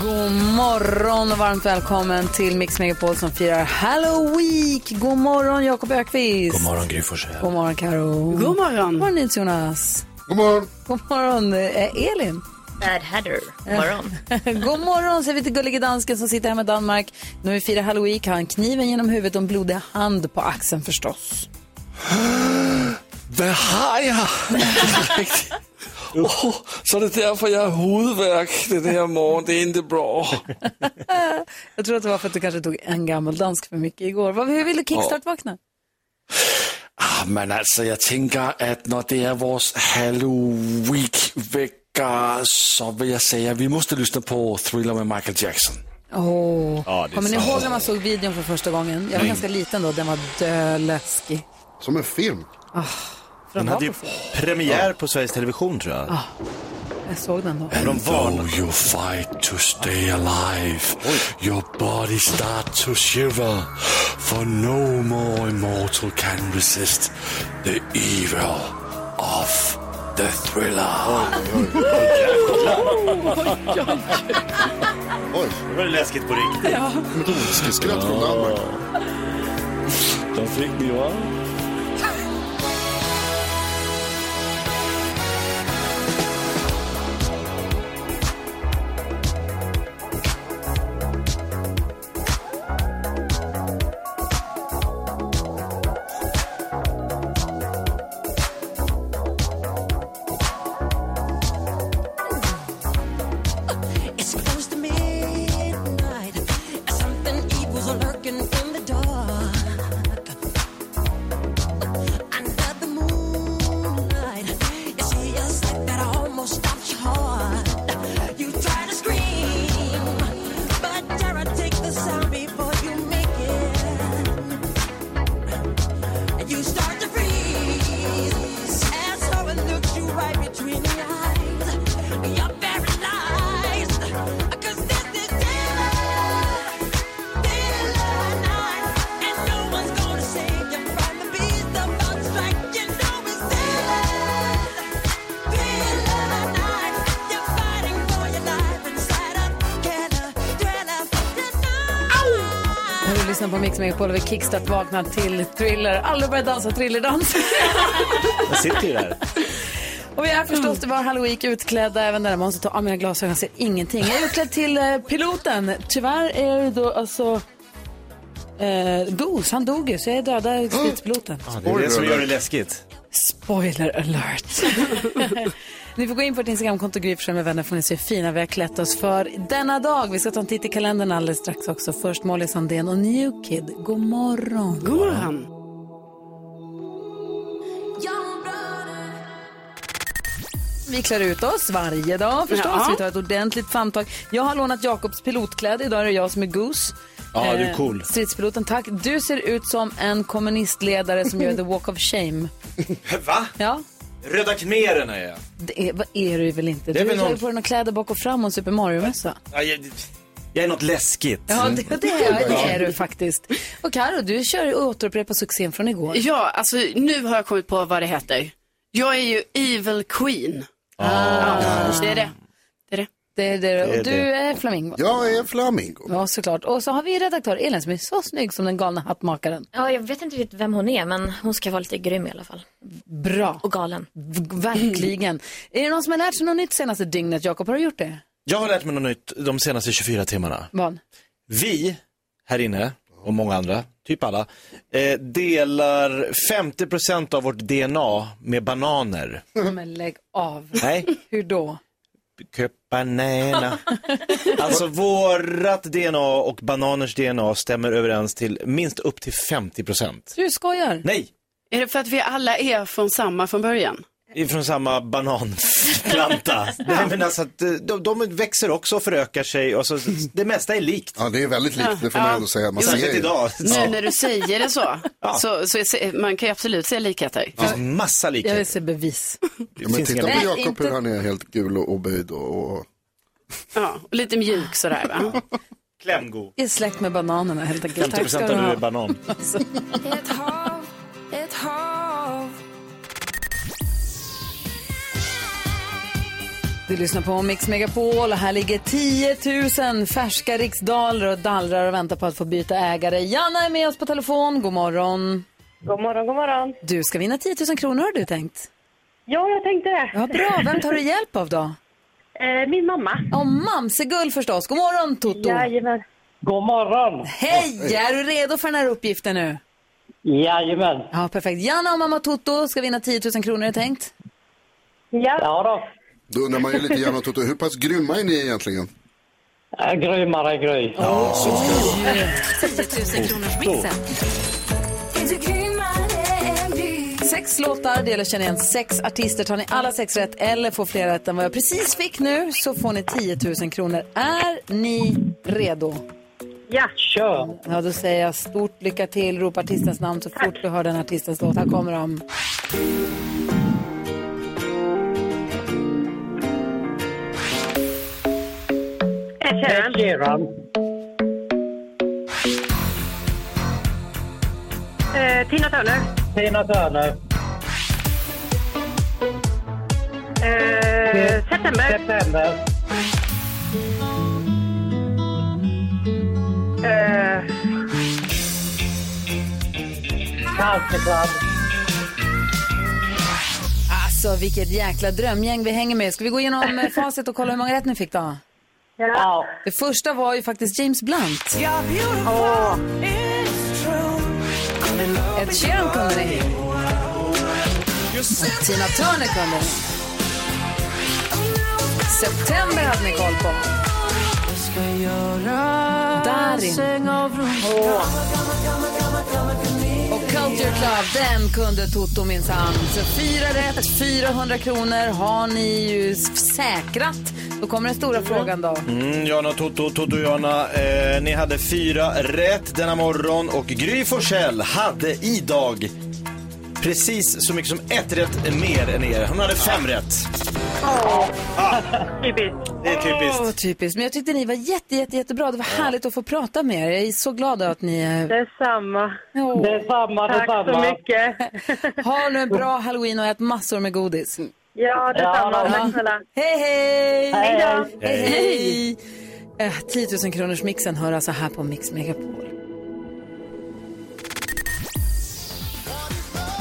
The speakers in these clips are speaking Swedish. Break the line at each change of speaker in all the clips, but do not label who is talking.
God morgon och varmt välkommen till Mix Megapol som firar Halloween. God morgon Jakob Ökvist.
God morgon Gry
God morgon Karo.
God morgon.
God morgon Nils Jonas.
God morgon.
God morgon eh, Elin.
Bad Hatter. Morgon.
God morgon säger vi till gullige dansken som sitter hemma i Danmark. När vi firar Halloween har han kniven genom huvudet och en blodig hand på axeln förstås.
Vad har jag? Åh, så det är därför jag har huvudvärk den här morgonen. Det är inte bra.
Jag tror att det var för att du kanske tog en gammal dansk för mycket igår. Vad- Hur vill du kickstart-vakna?
Ah, Men alltså, jag tänker att när det är vår Halloween-vecka så vill jag säga att vi måste lyssna på Thriller med Michael Jackson.
Åh.
Ja, det är
Kommer ni
sant.
ihåg när man såg videon för första gången? Jag var ganska liten då, den var döläskig.
Som en film.
För
Den
var
hade ju
på film.
premiär på Sveriges Television tror jag.
Jag såg den då.
Och De
Though
varnade.
you fight to stay alive, your body starts to shiver, for no more immortal can resist the evil of the thriller.
Oj,
Det var läskigt på riktigt.
som ett ondskeskratt från Danmark.
Där fick ni va?
It's close to midnight. Something evil's lurking in the dark. Under the moonlight, you see a sight that almost stops your heart. You try to scream, but terror takes the sound before you make it. And you start to freeze as someone looks you right between the eyes. You're paralyzed. 'Cause this is dealer, dealer night. And no one's gonna save you from the beast about to strike. You know it's dealer, dealer night. You're fighting for your life inside a killer, thriller.
När du lyssnar på Mix Megapol och vi kickstart vaknar till Thriller. Alla börjar dansa thrillerdans.
Jag sitter ju där.
Och vi är förstås till var halloween utklädda. Även där man måste ta av mina glasögon, jag ser ingenting. Jag är utklädd till eh, piloten. Tyvärr är det då alltså eh, Goose, han dog ju. Så jag är döda stridspiloten.
Det är det som gör det läskigt.
Spoiler alert. ni får gå in på vårt Instagramkonto Gry Forssell med vänner får ni se hur fina vi har klätt oss för denna dag. Vi ska ta en titt i kalendern alldeles strax också. Först Molly Sandén och New Kid. God morgon.
God morgon.
Vi klär ut oss varje dag förstås.
Ja.
Vi tar ett ordentligt famntag. Jag har lånat Jakobs pilotklädd. Idag är det jag som är Goose.
Ja, du är
Eh,
cool.
Stridspiloten, tack. Du ser ut som en kommunistledare som gör the walk of shame.
Va?
Ja,
Röda khmererna är jag.
det är, vad är du väl inte?
Det är
du
väl
har ju
någon- Mm.
på dig några kläder bak och fram och en Super Mario-mössa.
Ja, jag. Jag är något läskigt.
Ja, det, det, är, det är du faktiskt. Och Karo, du kör ju återupprepa succén från igår.
Ja, alltså nu har jag kommit på vad det heter. Jag är ju Evil Queen. Ja, det är det. Det är det.
Det är det. Och
det.
du är flamingo.
Jag är flamingo.
Ja, såklart. Och så har vi redaktör Elin som är så snygg som den galna hattmakaren.
Ja, jag vet inte riktigt vem hon är, men hon ska vara lite grym i alla fall.
Bra.
Och galen.
V- Verkligen. Är det någon som har lärt sig något nytt senaste dygnet? Jakob, har du gjort det?
Jag har lärt mig något nytt de senaste 24 timmarna.
Van?
Vi här inne och många andra, typ alla, eh, delar 50% av vårt DNA med bananer.
Men lägg av.
Nej,
Hur då?
Köpanena. Alltså vårat DNA och bananers DNA stämmer överens till minst upp till 50%.
Du skojar?
Nej,
Är det för att vi alla är från samma från början?
Ifrån samma bananplanta. Nej, men alltså, att, eh, de, de växer också och förökar sig. Och så, det mesta är likt.
Ja, det är väldigt likt, det får man ändå säga. Man ser
Särskilt
ju.
idag.
Nu när du säger det så, så, så är- man kan ju absolut se likheter.
Det finns massa
Jag vill
likheter.
se bevis.
Ja, men titta på
Nej,
Jakob
inte.
hur han är helt gul och oböjd och... och...
Ja, och lite mjuk sådär va.
Klämgo.
Jag är släkt med bananerna helt enkelt.
50
Tack ska
procent
du
av du
ha.
är banan.
Ett hav, ett hav.
Du lyssnar på Mix Megapol och här ligger 10 000 färska riksdaler och dallrar och väntar på att få byta ägare. Janna är med oss på telefon. God morgon.
God morgon, god morgon.
Du ska vinna 10 000 kronor har du tänkt.
Ja, jag tänkte det.
Ja, bra. Vem tar du hjälp av då?
Eh, min mamma.
Ja, Mamsegull förstås. God morgon Toto.
Jajamän. God morgon.
Hej! Är du redo för den här uppgiften nu?
Jajamän.
Ja, perfekt. Janna och mamma Toto ska vinna 10 000 kronor är det tänkt.
Ja, ja då.
Då undrar man ju lite grann, Toto, hur pass grymma är ni egentligen?
Eh, Grymmare gry.
Sex låtar, det gäller att känna igen sex artister. Tar ni alla sex rätt eller får fler rätt än vad jag precis fick nu så får ni 10 000 kronor. Är ni redo?
Ja. Kör.
Ja, då säger jag stort lycka till. Ropa artistens namn så fort du hör den artistens låt. Här kommer de.
Ed Sheeran. Eh, Tina Turner. Tina Turner. Eh, september. September. Eh.
Alltså, vilket jäkla drömgäng vi hänger med. Ska vi gå igenom eh, facit och kolla hur många rätt ni fick då?
Ja.
Det första var ju faktiskt James Blunt. Ed Sheeran kunde ni. Och Tina Turner kunde ni. September hade ni koll på. Darin. Och Culture Club, den kunde Toto minsann. Så fyra rätt, 400 kronor har ni ju s- säkrat. Då kommer den stora frågan då.
Mm, Jana, Toto, Toto, Jana. Eh, ni hade fyra rätt denna morgon och Gry Forssell hade idag precis så mycket som ett rätt mer än er. Hon hade fem rätt. Ah.
Typiskt.
Det är typiskt.
Åh, typiskt. Men jag tyckte ni var jätte, jätte, jättebra. Det var härligt att få prata med er. Jag är så glad att ni... eh,
Detsamma.
åh.
Detsamma, Tack detsamma. så mycket.
Ha nu en bra halloween och ät massor med godis.
Ja, detsamma.
Ja.
Tack snälla.
Hej, hej!
Hej då.
Hej, hej! Eh, 10 000 kronors mixen hör alltså här på Mix Megapol.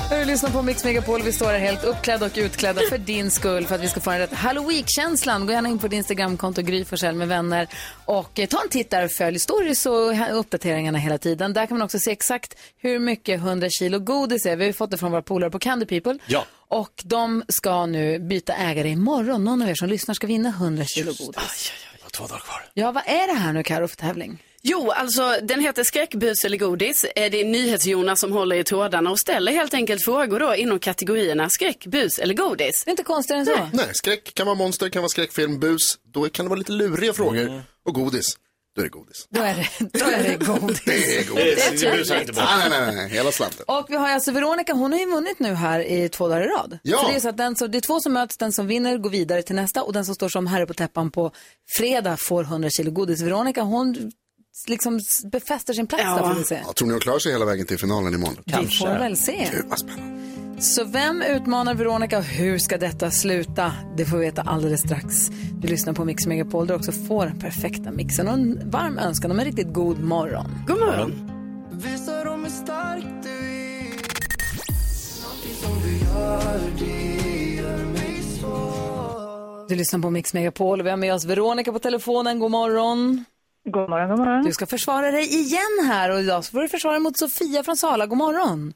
Du lyssnar på Mix Megapol. Vi står här helt uppklädda och utklädda för din skull för att vi ska få en rätt halloween-känslan. Gå gärna in på din Instagramkonto Gry Forssell med vänner och eh, ta en titt där och följ stories och ha- uppdateringarna hela tiden. Där kan man också se exakt hur mycket 100 kilo godis är. Vi har ju fått det från våra polare på Candy People.
Ja.
Och de ska nu byta ägare imorgon. Någon av er som lyssnar ska vinna 100 kilo godis.
Jag har två dagar kvar.
Ja, vad är det här nu Karo för tävling?
Jo, alltså den heter Skräckbus eller godis. Eh, Det är NyhetsJonas som håller i trådarna och ställer helt enkelt frågor då inom kategorierna skräck, bus eller godis.
Det är inte konstigare än så.
Nej, skräck kan vara monster, kan vara skräckfilm, bus. Då kan det vara lite luriga frågor. Och godis, då är det godis.
Då är det, då är det godis.
Det är godis.
Det busar inte bort.
Nej, nej, nej, nej, hela slanten.
Och vi har ju alltså Veronica, hon har ju vunnit nu här i två dagar i rad.
Ja.
Så det är så att den som, det är två som möts, den som vinner går vidare till nästa och den som står som herre på täppan på fredag får 100 kilo godis. Veronica, hon liksom s- befäster sin plats
Ja.
där får vi se.
Ja, tror ni hon klarar sig hela vägen till finalen imorgon?
Vi får väl se.
Gud, vad spännande.
Så vem utmanar Veronica och hur ska detta sluta? Det får vi veta alldeles strax. Du lyssnar på Mix Megapol där du också får den perfekta mixen och en varm önskan om en riktigt god morgon.
God morgon.
Du lyssnar på Mix Megapol och vi har med oss Veronica på telefonen. God morgon.
God morgon, god morgon.
Du ska försvara dig igen här och idag så får du försvara dig mot Sofia från Sala. God morgon.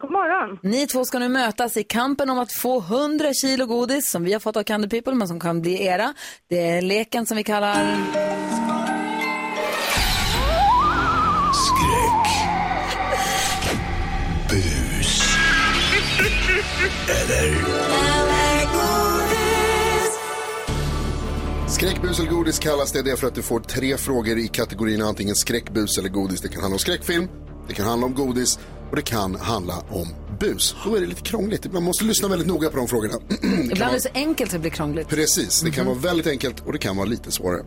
God morgon.
Ni två ska nu mötas i kampen om att få 100 kilo godis som vi har fått av Candy People men som kan bli era. Det är leken som vi kallar...
Mm.
Skräck. Bus.
Skräck, bus eller godis kallas det. Det är för att du får tre frågor i kategorin antingen skräck, bus eller godis. Det kan handla om skräckfilm, det kan handla om godis och det kan handla om bus. Då är det lite krångligt. Man måste lyssna väldigt noga på de frågorna. Det kan
Ibland är det så enkelt så det blir krångligt.
Precis, det kan
Mhm.
vara väldigt enkelt och det kan vara lite svårare.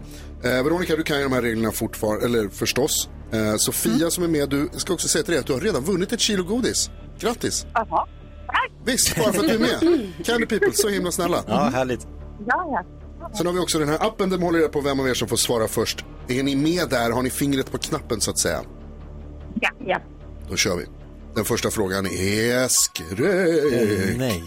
Eh, Veronica, du kan ju de här reglerna fortfarande, eller förstås. Eh, Sofia som är med, du jag ska också säga till dig att du har redan vunnit ett kilo godis. Grattis!
Jaha.
Visst, bara för att du är med. Candy People, så himla snälla.
Ja, härligt.
Ja,
Sen har vi också den här appen där man håller reda på vem av er som får svara först. Är ni med där? Har ni fingret på knappen så att säga?
ja. ja.
Då kör vi. Den första frågan är skräck.
nej.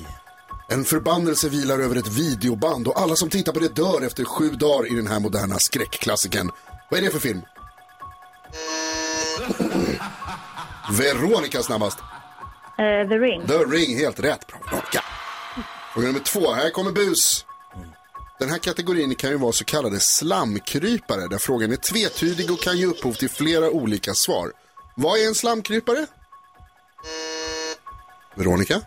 En förbannelse vilar över ett videoband och alla som tittar på det dör efter sju dagar i den här moderna skräckklassikern. Vad är det för film? Veronica snabbast.
Eh, the Ring.
The Ring, helt rätt. Bra, Veronica. Fråga nummer två, här kommer bus. Den här kategorin kan ju vara så kallade slamkrypare där frågan är tvetydig och kan ge upphov till flera olika svar. Vad är en slamkrypare? Veronica?
Eh,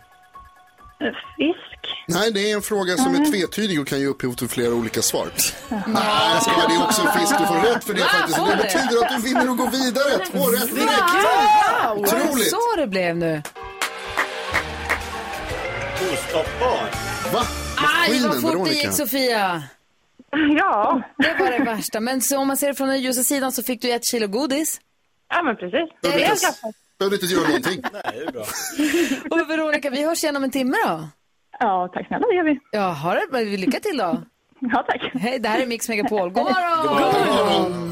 Fisk.
Nej, det är en fråga som är tvetydig och kan ge upphov till flera olika svar. Nej, jag skojar, det är också en fisk. Du får rätt för det faktiskt. Det betyder att du vinner och går vidare. Två rätt direkt.
Wow!
Otroligt.
Så det blev nu.
Ostoppbar.
Va?
Aj, vad
Maskinen,
fort det
Veronica.
gick Sofia.
Ja.
Det var det värsta. Men så om man ser det från den ljusa sidan så fick du ett kilo godis.
ja, men precis.
Det
Det
är
är
precis.
ganska...
Behövde inte göra någonting.
Nej, det är bra.
Och Veronica, vi hörs igen om en timme då.
Ja, tack snälla, det gör vi.
Ja, har det. Men Lycka till då.
Ja, tack.
Hej, det här är Mix Megapol. God morgon!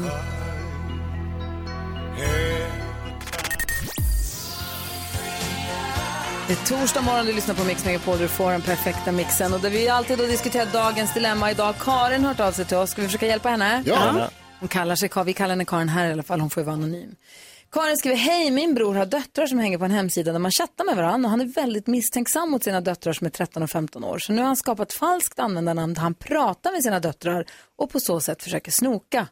Det är torsdag morgon, du lyssnar på Mix Megapol, du får den perfekta mixen. Och där vi alltid då diskuterar dagens dilemma. Idag Karin har hört av sig till oss. Ska vi försöka hjälpa henne?
Ja.
Hon kallar sig Karin, vi kallar henne Karin här i alla fall, hon får ju vara anonym. Karin skriver, hej min bror har döttrar som hänger på en hemsida där man chattar med varandra och han är väldigt misstänksam mot sina döttrar som är 13 och 15 år. Så nu har han skapat falskt användarnamn där han pratar med sina döttrar och på så sätt försöker snoka.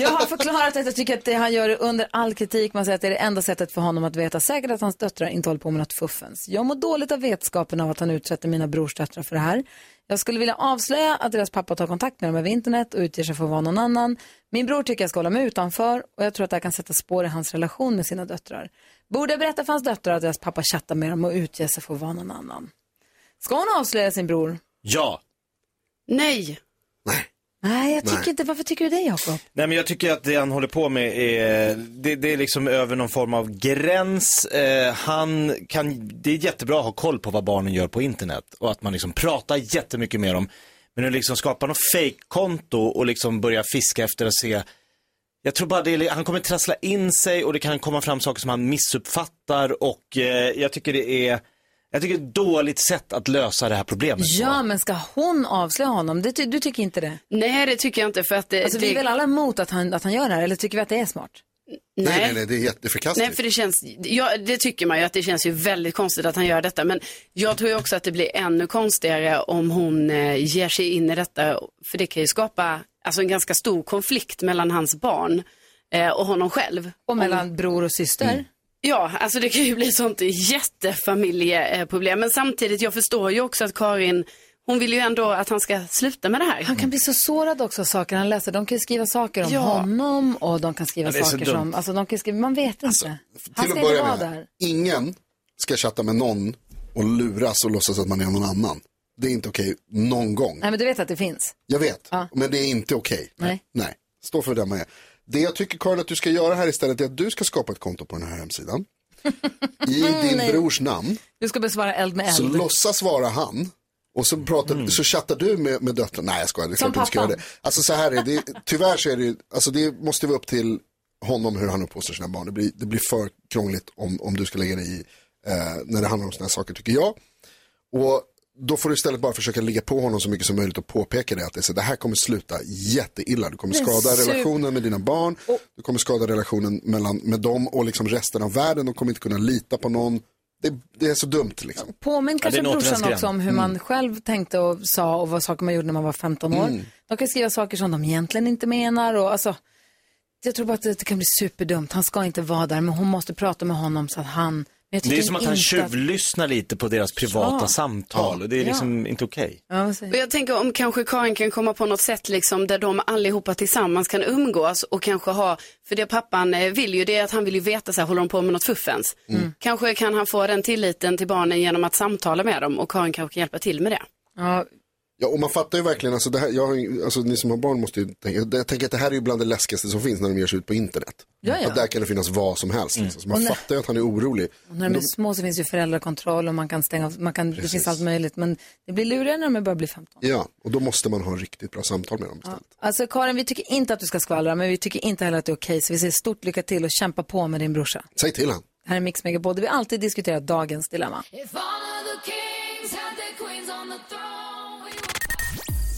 Jag har förklarat att jag tycker att det han gör är under all kritik. Man säger att det är det enda sättet för honom att veta säkert att hans döttrar inte håller på med något fuffens. Jag mår dåligt av vetskapen av att han utsätter mina brors döttrar för det här. Jag skulle vilja avslöja att deras pappa tar kontakt med dem över internet och utger sig för att vara någon annan. Min bror tycker jag ska hålla mig utanför och jag tror att det här kan sätta spår i hans relation med sina döttrar. Borde jag berätta för hans döttrar att deras pappa chattar med dem och utger sig för att vara någon annan? Ska hon avslöja sin bror?
Ja.
Nej.
Nej, jag tycker inte. Varför tycker du det, Jakob?
Nej men jag tycker att det han håller på med är, det, det är liksom över någon form av gräns. Eh, han kan, det är jättebra att ha koll på vad barnen gör på internet och att man liksom pratar jättemycket med dem. Men nu liksom skapar något fake-konto och liksom börjar fiska efter att se. Jag tror bara det är, han kommer trassla in sig och det kan komma fram saker som han missuppfattar och eh, jag tycker det är, jag tycker det är ett dåligt sätt att lösa det här problemet.
Ja, men ska hon avslöja honom? Det ty- du tycker inte det?
Nej, det tycker jag inte för att det...
Alltså,
det...
vi är väl alla emot att han, att han gör det här, eller tycker vi att det är smart?
Nej, nej, nej, det är jätteförkastligt.
Nej, för det känns, ja, det tycker man ju att det känns ju väldigt konstigt att han gör detta. Men jag tror ju också att det blir ännu konstigare om hon eh, ger sig in i detta. För det kan ju skapa alltså, en ganska stor konflikt mellan hans barn eh, och honom själv.
Och mellan bror och syster?
Mm. Ja, alltså det kan ju bli sånt jättefamiljeproblem. Men samtidigt, jag förstår ju också att Karin, hon vill ju ändå att han ska sluta med det här.
Han kan bli så sårad också av saker han läser. De kan ju skriva saker om
Ja.
honom och de kan skriva
Ja, det är så
saker
dumt. Alltså,
som, alltså de kan skriva, man vet inte. han
Till
ska
att
inte
börja
vara
med,
där.
ingen ska chatta med någon och luras och låtsas att man är någon annan. Det är inte okej någon gång.
Nej men du vet att det finns.
Jag vet,
Ja.
men det är inte okej.
Nej.
Nej, stå för det man är. Det jag tycker Karin att du ska göra här istället är att du ska skapa ett konto på den här hemsidan. I din brors namn.
Du ska besvara eld med
Så
eld.
låtsas vara han. Och så, pratar, så chattar du med, med döttrarna. Nej jag skojar, det är
Som
klart du ska göra
pappan.
det. Alltså så här är det, tyvärr så är det ju- alltså det måste vara upp till honom hur han uppfostrar sina barn. Det blir, det blir för krångligt om, om du ska lägga dig i eh, när det handlar om sådana här saker tycker jag. Och då får du istället bara försöka ligga på honom så mycket som möjligt och påpeka det att det, är så, det här kommer sluta jätteilla. Du kommer
Men
skada
super-
relationen med dina barn, du kommer skada relationen mellan, med dem och liksom resten av världen. De kommer inte kunna lita på någon. Det, det är så dumt liksom.
Påminn
det
kanske
är en
brorsan
återvändsgränd. Mm.
också om hur man själv tänkte och sa och vad saker man gjorde när man var 15 år.
Mm.
De kan skriva saker som de egentligen inte menar och alltså, jag tror bara att det det kan bli superdumt. Han ska inte vara där, men hon måste prata med honom så att han jag
Det är
tycker
som att han
inte
tjuvlyssnar lite på deras privata
Ja.
samtal och det är
Ja.
liksom inte okej.
Ja, vad säger
Och jag tänker om kanske Karin kan komma på något sätt liksom där de allihopa tillsammans kan umgås och kanske ha, för det pappan eh, vill ju det är att han vill ju veta så här, håller de på med något fuffens?
Mm.
Kanske kan han få den tilliten till barnen genom att samtala med dem och Karin kanske kan hjälpa till med det.
Ja,
Ja, och man fattar ju verkligen, alltså, det här, jag, har ju- alltså, ni som har barn måste ju tänka, jag tänker att det här är ju bland det läskigaste som finns när de ger sig ut på internet.
Ja, ja. Mm.
Att där kan det finnas vad som helst. Liksom. Så man
Och när-
fattar ju att han är orolig.
Och när de är små så finns ju föräldrakontroll och man kan stänga av, man kan, det
Precis.
finns allt möjligt. Men det blir lurigare när de börjar bli 15.
Ja, och då måste man ha riktigt bra samtal med dem istället.
Alltså Karin, vi tycker inte att du ska skvallra, men vi tycker inte heller att det är okej. Så vi säger stort lycka till och kämpa på med din brorsa.
Säg till han.
Det här är Mix Megapol, där vi alltid diskuterar dagens dilemma.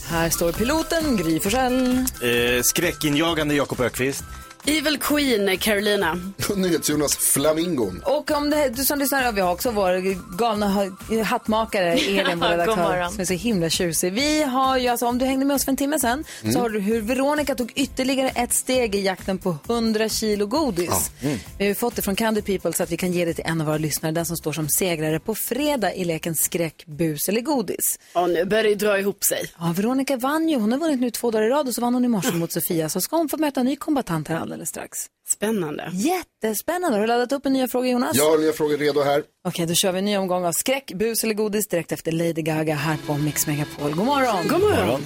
Här står piloten Gry Forssell.
Eh, skräckinjagande Jakob Ökvist.
Evil Queen, eh, Carolina.
NyhetsJonas Flamingon.
Och om det, du som lyssnar, vi har också vår galna ha- hattmakare Elin, vår
Ja, god
redaktör,
morgon.
som är så himla tjusig. Vi har ju, alltså, om du hängde med oss för en timme sedan, så
Mm.
har du hur Veronica tog ytterligare ett steg i jakten på 100 kilo godis.
mm.
Vi har ju fått det från Candy People så att vi kan ge det till en av våra lyssnare, den som står som segrare på fredag i leken skräck, bus eller godis.
Ja, nu börjar det dra ihop sig.
Ja, Veronica vann ju, hon har vunnit nu två dagar i rad och så vann hon i morse mot Sofia, så ska hon få möta en ny kombatant här alldeles strax.
Spännande.
Jättespännande, har du laddat upp en nya fråga Jonas?
Jag har nya frågor redo här.
Okej, då kör vi en ny omgång av skräck, bus eller godis direkt efter Lady Gaga här på Mix Megapol. God morgon!
God morgon.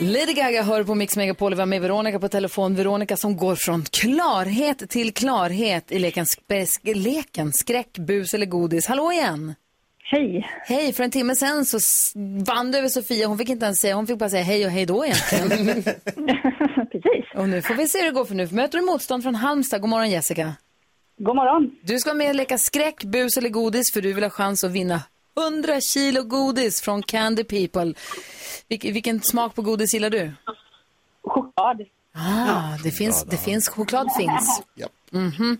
Lady Gaga hör på Mix Megapol och vi har med Veronica på telefon. Veronica som går från klarhet till klarhet i leken, spe- leken skräck, bus eller godis. Hallå igen!
Hej.
Hej, för en timme sen så s- vann du över Sofia. Hon fick inte ens säga, hon fick bara säga hej och hej då egentligen.
Precis.
och nu får vi se hur det går för nu möter du motstånd från Halmstad. God morgon Jessica!
God morgon.
Du ska vara med och leka skräck, bus eller godis för du vill ha chans att vinna 100 kilo godis från Candy People. Vilk, vilken smak på godis gillar du?
Choklad.
Ah, det finns, det finns, choklad finns.
Ja.
Mhm.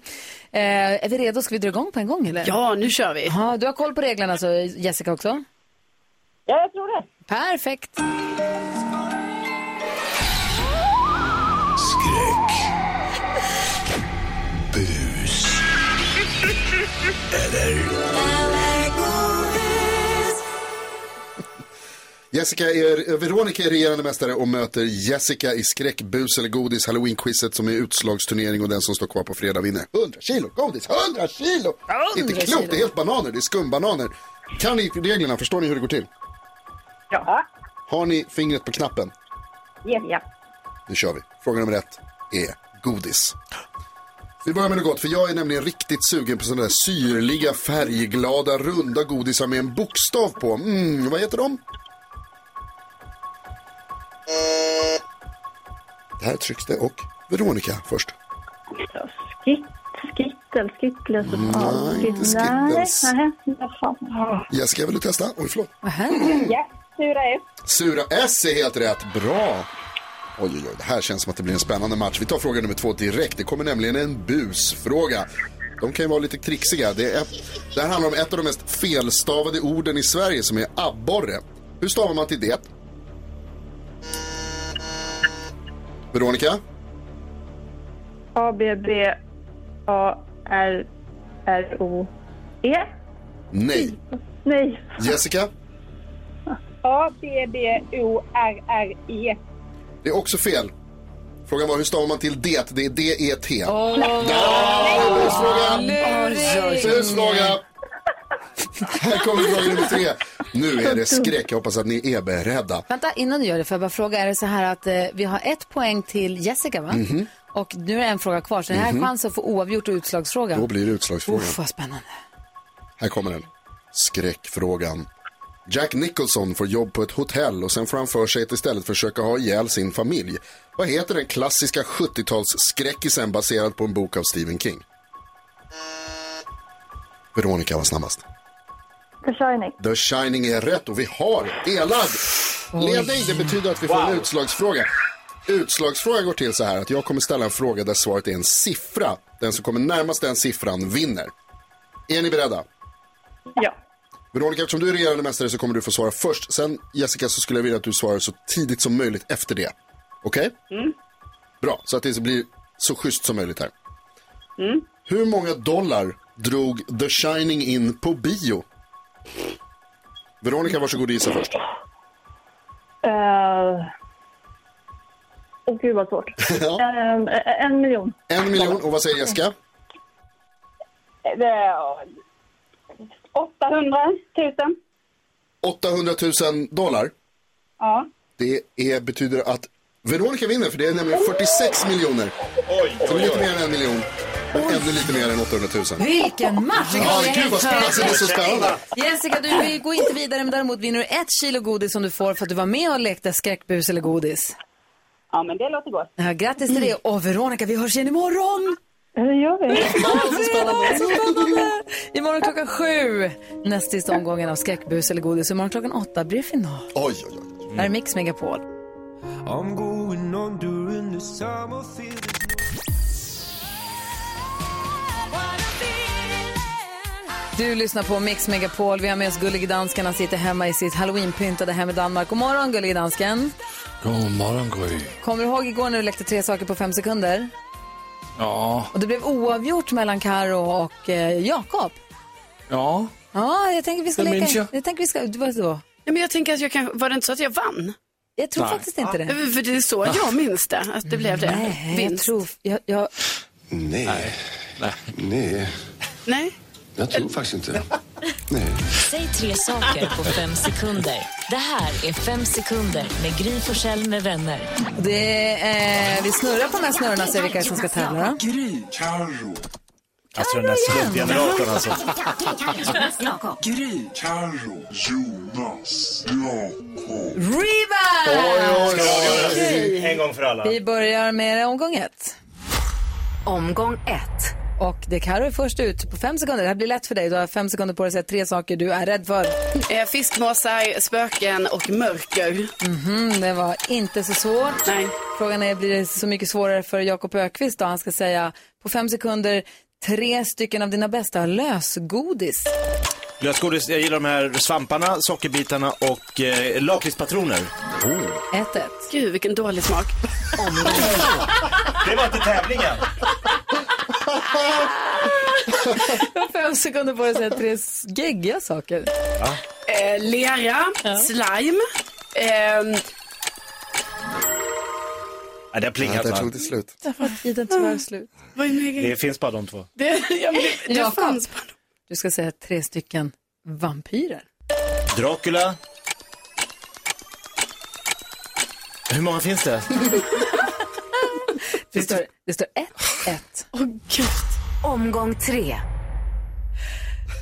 Eh, är vi redo? Ska vi dra igång på en gång eller?
Ja, nu kör vi.
Ja, du har koll på reglerna alltså, Jessica också?
Ja, jag tror det.
Perfekt.
Skräck. Bus.
Jessica är, Veronica är regerande mästare och möter Jessica i skräck, bus eller godis, halloween-quizet som är utslagsturnering och den som står kvar på fredag vinner 100 kilo godis, 100 kilo! Inte klokt, det är helt bananer, det är skumbananer. Kan ni reglerna, förstår ni hur det går till?
Ja.
Har ni fingret på knappen?
Ja. ja.
Nu kör vi. Fråga nummer ett är godis. Vi börjar med något gott, för jag är nämligen riktigt sugen på sådana där syrliga, färgglada, runda godisar med en bokstav på. Mm, vad heter de? Där trycks det och Veronica först.
Skitt, skittel, skittles och
Nej, inte Skittles.
Nej, vad fan. Ja,
Jessica, vill du testa? Oj, förlåt.
Vad händer?
sura är.
Sura S är helt rätt. Bra. Oj, oj, oj. Det här känns som att det blir en spännande match. Vi tar fråga nummer två direkt. Det kommer nämligen en busfråga. De kan ju vara lite trixiga. Det, är ett, det här handlar om ett av de mest felstavade orden i Sverige som är abborre. Hur stavar man till det? Veronica?
A, B, B, A, R, R, O, E.
Nej.
Nej.
Jessica?
A, B, B, O, R, R, E.
Det är också fel. Frågan var hur stavar man till det? Det är E D-E-T.
Åh,
Där! Busfrågan!
luring.
Slutfråga! Här kommer fråga nummer tre. Nu är det skräck. Jag hoppas att ni är beredda.
Vänta, innan du gör det får jag bara fråga, är det så här att eh, vi har ett poäng till Jessica va?
Mhm.
Och nu är det en fråga kvar, så det här är chansen att få oavgjort och utslagsfråga.
Då blir det utslagsfrågan.
Uff, vad spännande.
Här kommer den. Skräckfrågan. Jack Nicholson får jobb på ett hotell och sen får han för sig att istället försöka ha ihjäl sin familj. Vad heter den klassiska 70-talsskräckisen baserad på en bok av Stephen King? Veronica var snabbast.
Försörjning.
The Shining är rätt och vi har delad ledning. Det betyder att vi får en utslagsfråga. Utslagsfrågan går till så här att jag kommer ställa en fråga där svaret är en siffra. Den som kommer närmast den siffran vinner. Är ni beredda?
Ja.
Veronica, eftersom du är regerande mästare så kommer du få svara först. Sen Jessica så skulle jag vilja att du svarar så tidigt som möjligt efter det. Okej? Bra, så att det blir så schysst som möjligt här. Hur många dollar drog The Shining in på bio? Veronica, varsågod och gissa först.
Eh, Åh gud vad svårt.
Ja.
Ehm, eh, en miljon.
En miljon, och vad säger Jessica?
Eh, det är- 800 000.
800 000 dollar.
Ja.
Det är, betyder att Veronica vinner, för det är nämligen 46 miljoner.
Oj,
Så det är lite mer än en miljon, men ännu lite mer än 800 000.
Vilken match!
Ja, gud vad spännande, Alltså, det är så spännande.
Jessica, du går inte vidare, men däremot vinner du ett kilo godis som du får för att du var med och lekte skräckbus eller godis.
ja, men det låter gott.
Ja, grattis till det. Och Veronica, vi hörs igen imorgon!
Det gör vi.
Fredag, så spännande! Imorgon klockan sju, näst sista omgången av skräckbus eller godis. Imorgon klockan åtta blir det final.
Oj, oj, oj.
Här är Mix Megapol. Du lyssnar på Mix Megapol. Vi har med oss Gullige Dansken. Han sitter hemma i sitt halloweenpyntade hem i Danmark. God morgon, Gullige Dansken.
God morgon, Gry.
Kommer du ihåg igår när du lekte tre saker på fem sekunder?
Ja,
Och det blev oavgjort mellan Karo och eh, Jakob.
ja.
Ja, jag tänker vi ska
Det
leka.
minns jag.
jag tänker vi ska... Vad då?
Ja, men jag tänker att jag kan, var det inte så att jag vann?
Jag tror
Nej.
faktiskt inte det.
För det är så jag minns det, att det blev det.
Nej, jag
Vinst.
tror... Jag, jag,
Nej. Nej. Nej,
Nej.
jag tror faktiskt inte. Nej.
Säg tre saker på fem sekunder. Det här är Fem sekunder med Gry Forssell med vänner.
det, eh, vi snurrar på de här snurrorna och ser vilka som ska tävla. då.
Alltså den där slumpgeneratorn alltså.
Reba!
En gång för alla.
Vi börjar med omgång ett.
Omgång ett.
Och det Karo är först ut på fem sekunder. Det här blir lätt för dig. Du har fem sekunder på dig att säga tre saker du är rädd för.
Eh, Fiskmåsar, spöken och mörker.
Mm, det var inte så svårt.
Nej.
Frågan är, blir det så mycket svårare för Jakob Ökvist då? Han ska säga på fem sekunder tre stycken av dina bästa lösgodis.
Lösgodis, jag gillar de här svamparna, sockerbitarna och eh, lakritspatroner.
Ett, ett.
Gud, vilken dålig smak.
Det var inte tävlingen.
Du har fem sekunder på dig att säga tre geggiga saker.
Eh, lera, slime. Eh,
Nej, det har plingat
Jag tror
va?
det är slut.
Där var tiden
Ah.
tyvärr slut.
vad är min egen?
Det finns bara de två.
Det, ja, men det, det
Jakob.
fanns bara.
Du ska säga tre stycken vampyrer.
Dracula. Hur många finns det?
Det står, det står ett, ett.
Åh, gud.
Omgång tre.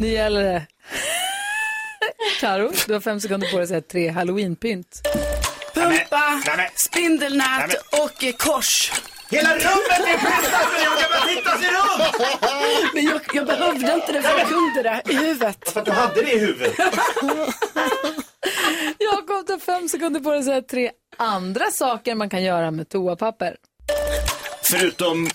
Nu gäller det. Karo, du har fem sekunder på dig att säga tre halloweenpynt.
Pumpa,
Nej, men-
spindelnät
Nej,
och eh, kors.
Hela rummet är festat för jag kan bara titta sig runt!
Men jag, jag behövde inte det, för jag kunde det i huvudet.
För att du hade det i huvudet.
Jakob, du har fem sekunder på dig att säga tre andra saker man kan göra med toapapper.
Förutom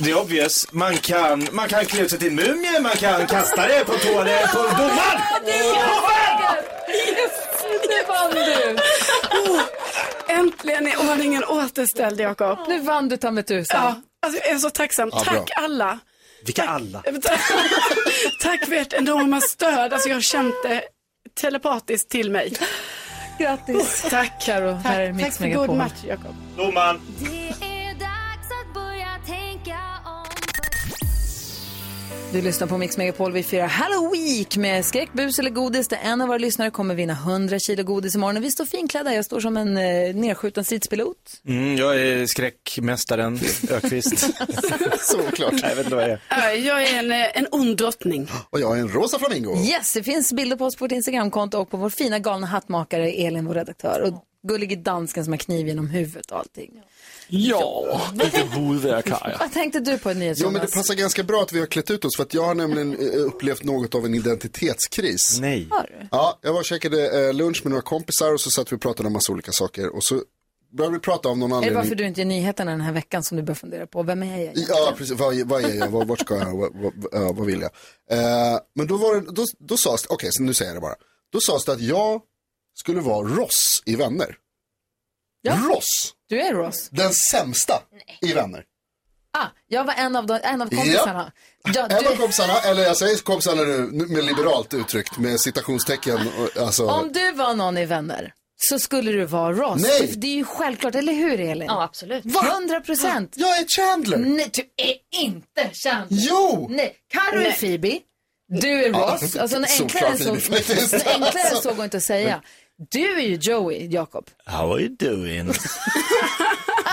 det obvious, man kan, man kan klä ut sig till en mumie, man kan kasta det på toaletten, på domaren!
Yes, nu vann du!
Äntligen är ordningen återställd, Jakob.
Nu vann du ta mig tusan.
Ja, alltså, jag är så tacksam. Tack alla.
Vilka alla?
Tack för ert enorma stöd. Alltså, jag har känt det telepatiskt till mig.
Grattis.
Tack.
Karo,
Tack,
här är
tack
Mix
för god
Megapol.
match, Jakob.
Domaren.
Du lyssnar på Mix Megapol. Vi firar Halloween med skräckbus eller godis. Där en av våra lyssnare kommer vinna 100 kilo godis imorgon. Och vi står finklädda. Jag står som en eh, nedskjuten stridspilot.
Mm, jag är skräckmästaren Ökvist.
Såklart.
jag vet inte vad det är.
Äh, Jag är en, eh, en ond drottning.
Och jag är en rosa flamingo.
Yes, det finns bilder på oss på vårt Instagramkonto och på vår fina galna hattmakare Elin, vår redaktör. Och gullige dansken som har kniv genom huvudet och allting.
Ja, lite huvudvärk har jag.
Vad tänkte du på nyhets,
Jo, men det
Jonas?
passar ganska bra att vi har klätt ut oss för att jag har nämligen eh, upplevt något av en identitetskris.
Nej.
Ja, jag var och käkade eh, lunch med några kompisar och så satt vi och pratade om massa olika saker och så började vi prata om någon
Är det
anledning.
varför du inte är i nyheterna den här veckan som du bör fundera på? Vem är jag egentligen?
Ja, precis. Vad, vad är jag? Vad- Vart ska jag? Vad, vad, ja, vad vill jag? Eh, men då, var det, då, då sades det, okej, så nu säger jag det bara. Då sades det att jag skulle vara Ross i Vänner.
Ja.
Ross,
Du är Ross.
den sämsta i Vänner.
Ah, jag var en av, de, en av
Ja.
kompisarna. Ja,
En av
du,
kompisarna, eller jag säger kompisarna nu nu med liberalt uttryckt, med citationstecken. och, Alltså,
om du var någon i Vänner så skulle du vara Ross.
Nej.
För Det är ju självklart, eller hur Elin? Ja, absolut. 100 procent.
Jag är Chandler.
Nej, du är inte Chandler.
Jo!
Nej, Carro är
Nej.
Phoebe. Du är
Ja,
Ross. Alltså, en
solklar
enklare, än så,
Phoebe faktiskt.
en enklare än så
Alltså.
går inte att säga. Du är ju Joey, Jakob.
How are you doing?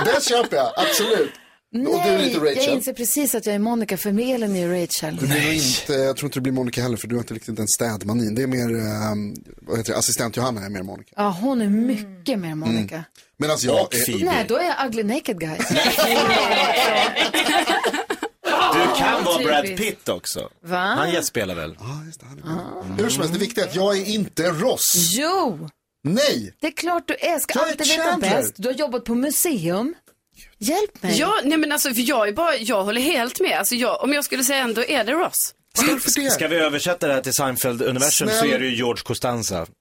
det köper jag, absolut. och du är lite
Nej, jag
Rachel. Mm.
inser precis att jag är Monica, för mig Elin är Rachel.
Det blir nog inte, jag tror inte det blir Monica heller för du har inte riktigt den städmanin. Det är mer, ehm, vad heter det, assistent Johanna är mer Monica.
Ja, hon är mycket mer Monica.
Medan jag
Och
är...
Phoebe.
Nej, då är jag ugly naked guy.
Du kan vara
typiskt.
Brad Pitt också.
Va?
Han gästspelar väl?
Hur som helst, det viktiga är att jag är inte Ross.
Jo!
Nej!
Det är klart du är. Ska
Jag är
alltid veta
Chandler.
bäst. Du har jobbat på museum. Hjälp mig.
Ja, nej men alltså för jag är bara, jag håller helt med. Alltså jag, om jag skulle säga en, då är det Ross.
Ska vi översätta det här till Seinfeld-universum så
Snäll.
är det ju George Costanza.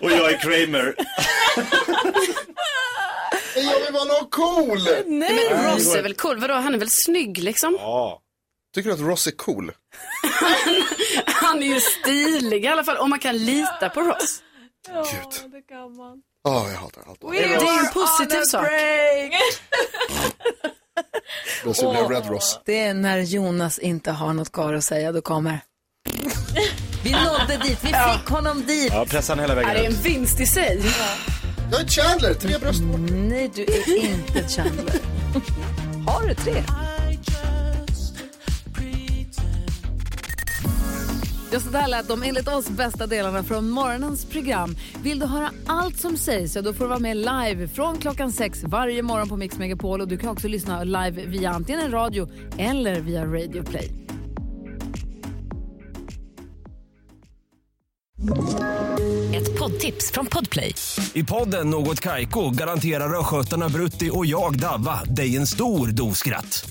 Och jag är Kramer.
Jag vill vara någon cool!
Nej, men Ross är väl cool? Vadå, han är väl snygg liksom?
Tycker du att Ross är cool?
Han är ju stilig i alla fall, om man kan lita på Ross.
Ja, jag hatar allt.
Det är ju en positiv sak.
Då så blir jag Red Ross.
Det är när Jonas inte har något kvar att säga, då kommer... Vi nådde dit, vi fick honom dit.
Ja, pressa han hela
Är
vägen
det
ut.
en
vinst i sig.
Jag är Chandler, tre bröst bort.
Nej, du är inte Chandler. Har du tre? Ja, så där lät de enligt oss bästa delarna från morgonens program. Vill du höra allt som sägs, ja, då får du vara med live från klockan sex varje morgon på Mix Megapol. Och du kan också lyssna live via antingen en radio eller via Radio Play.
Ett poddtips från Podplay.
I podden Något Kaiko garanterar östgötarna Brutti och jag, Davva, dig en stor dos skratt.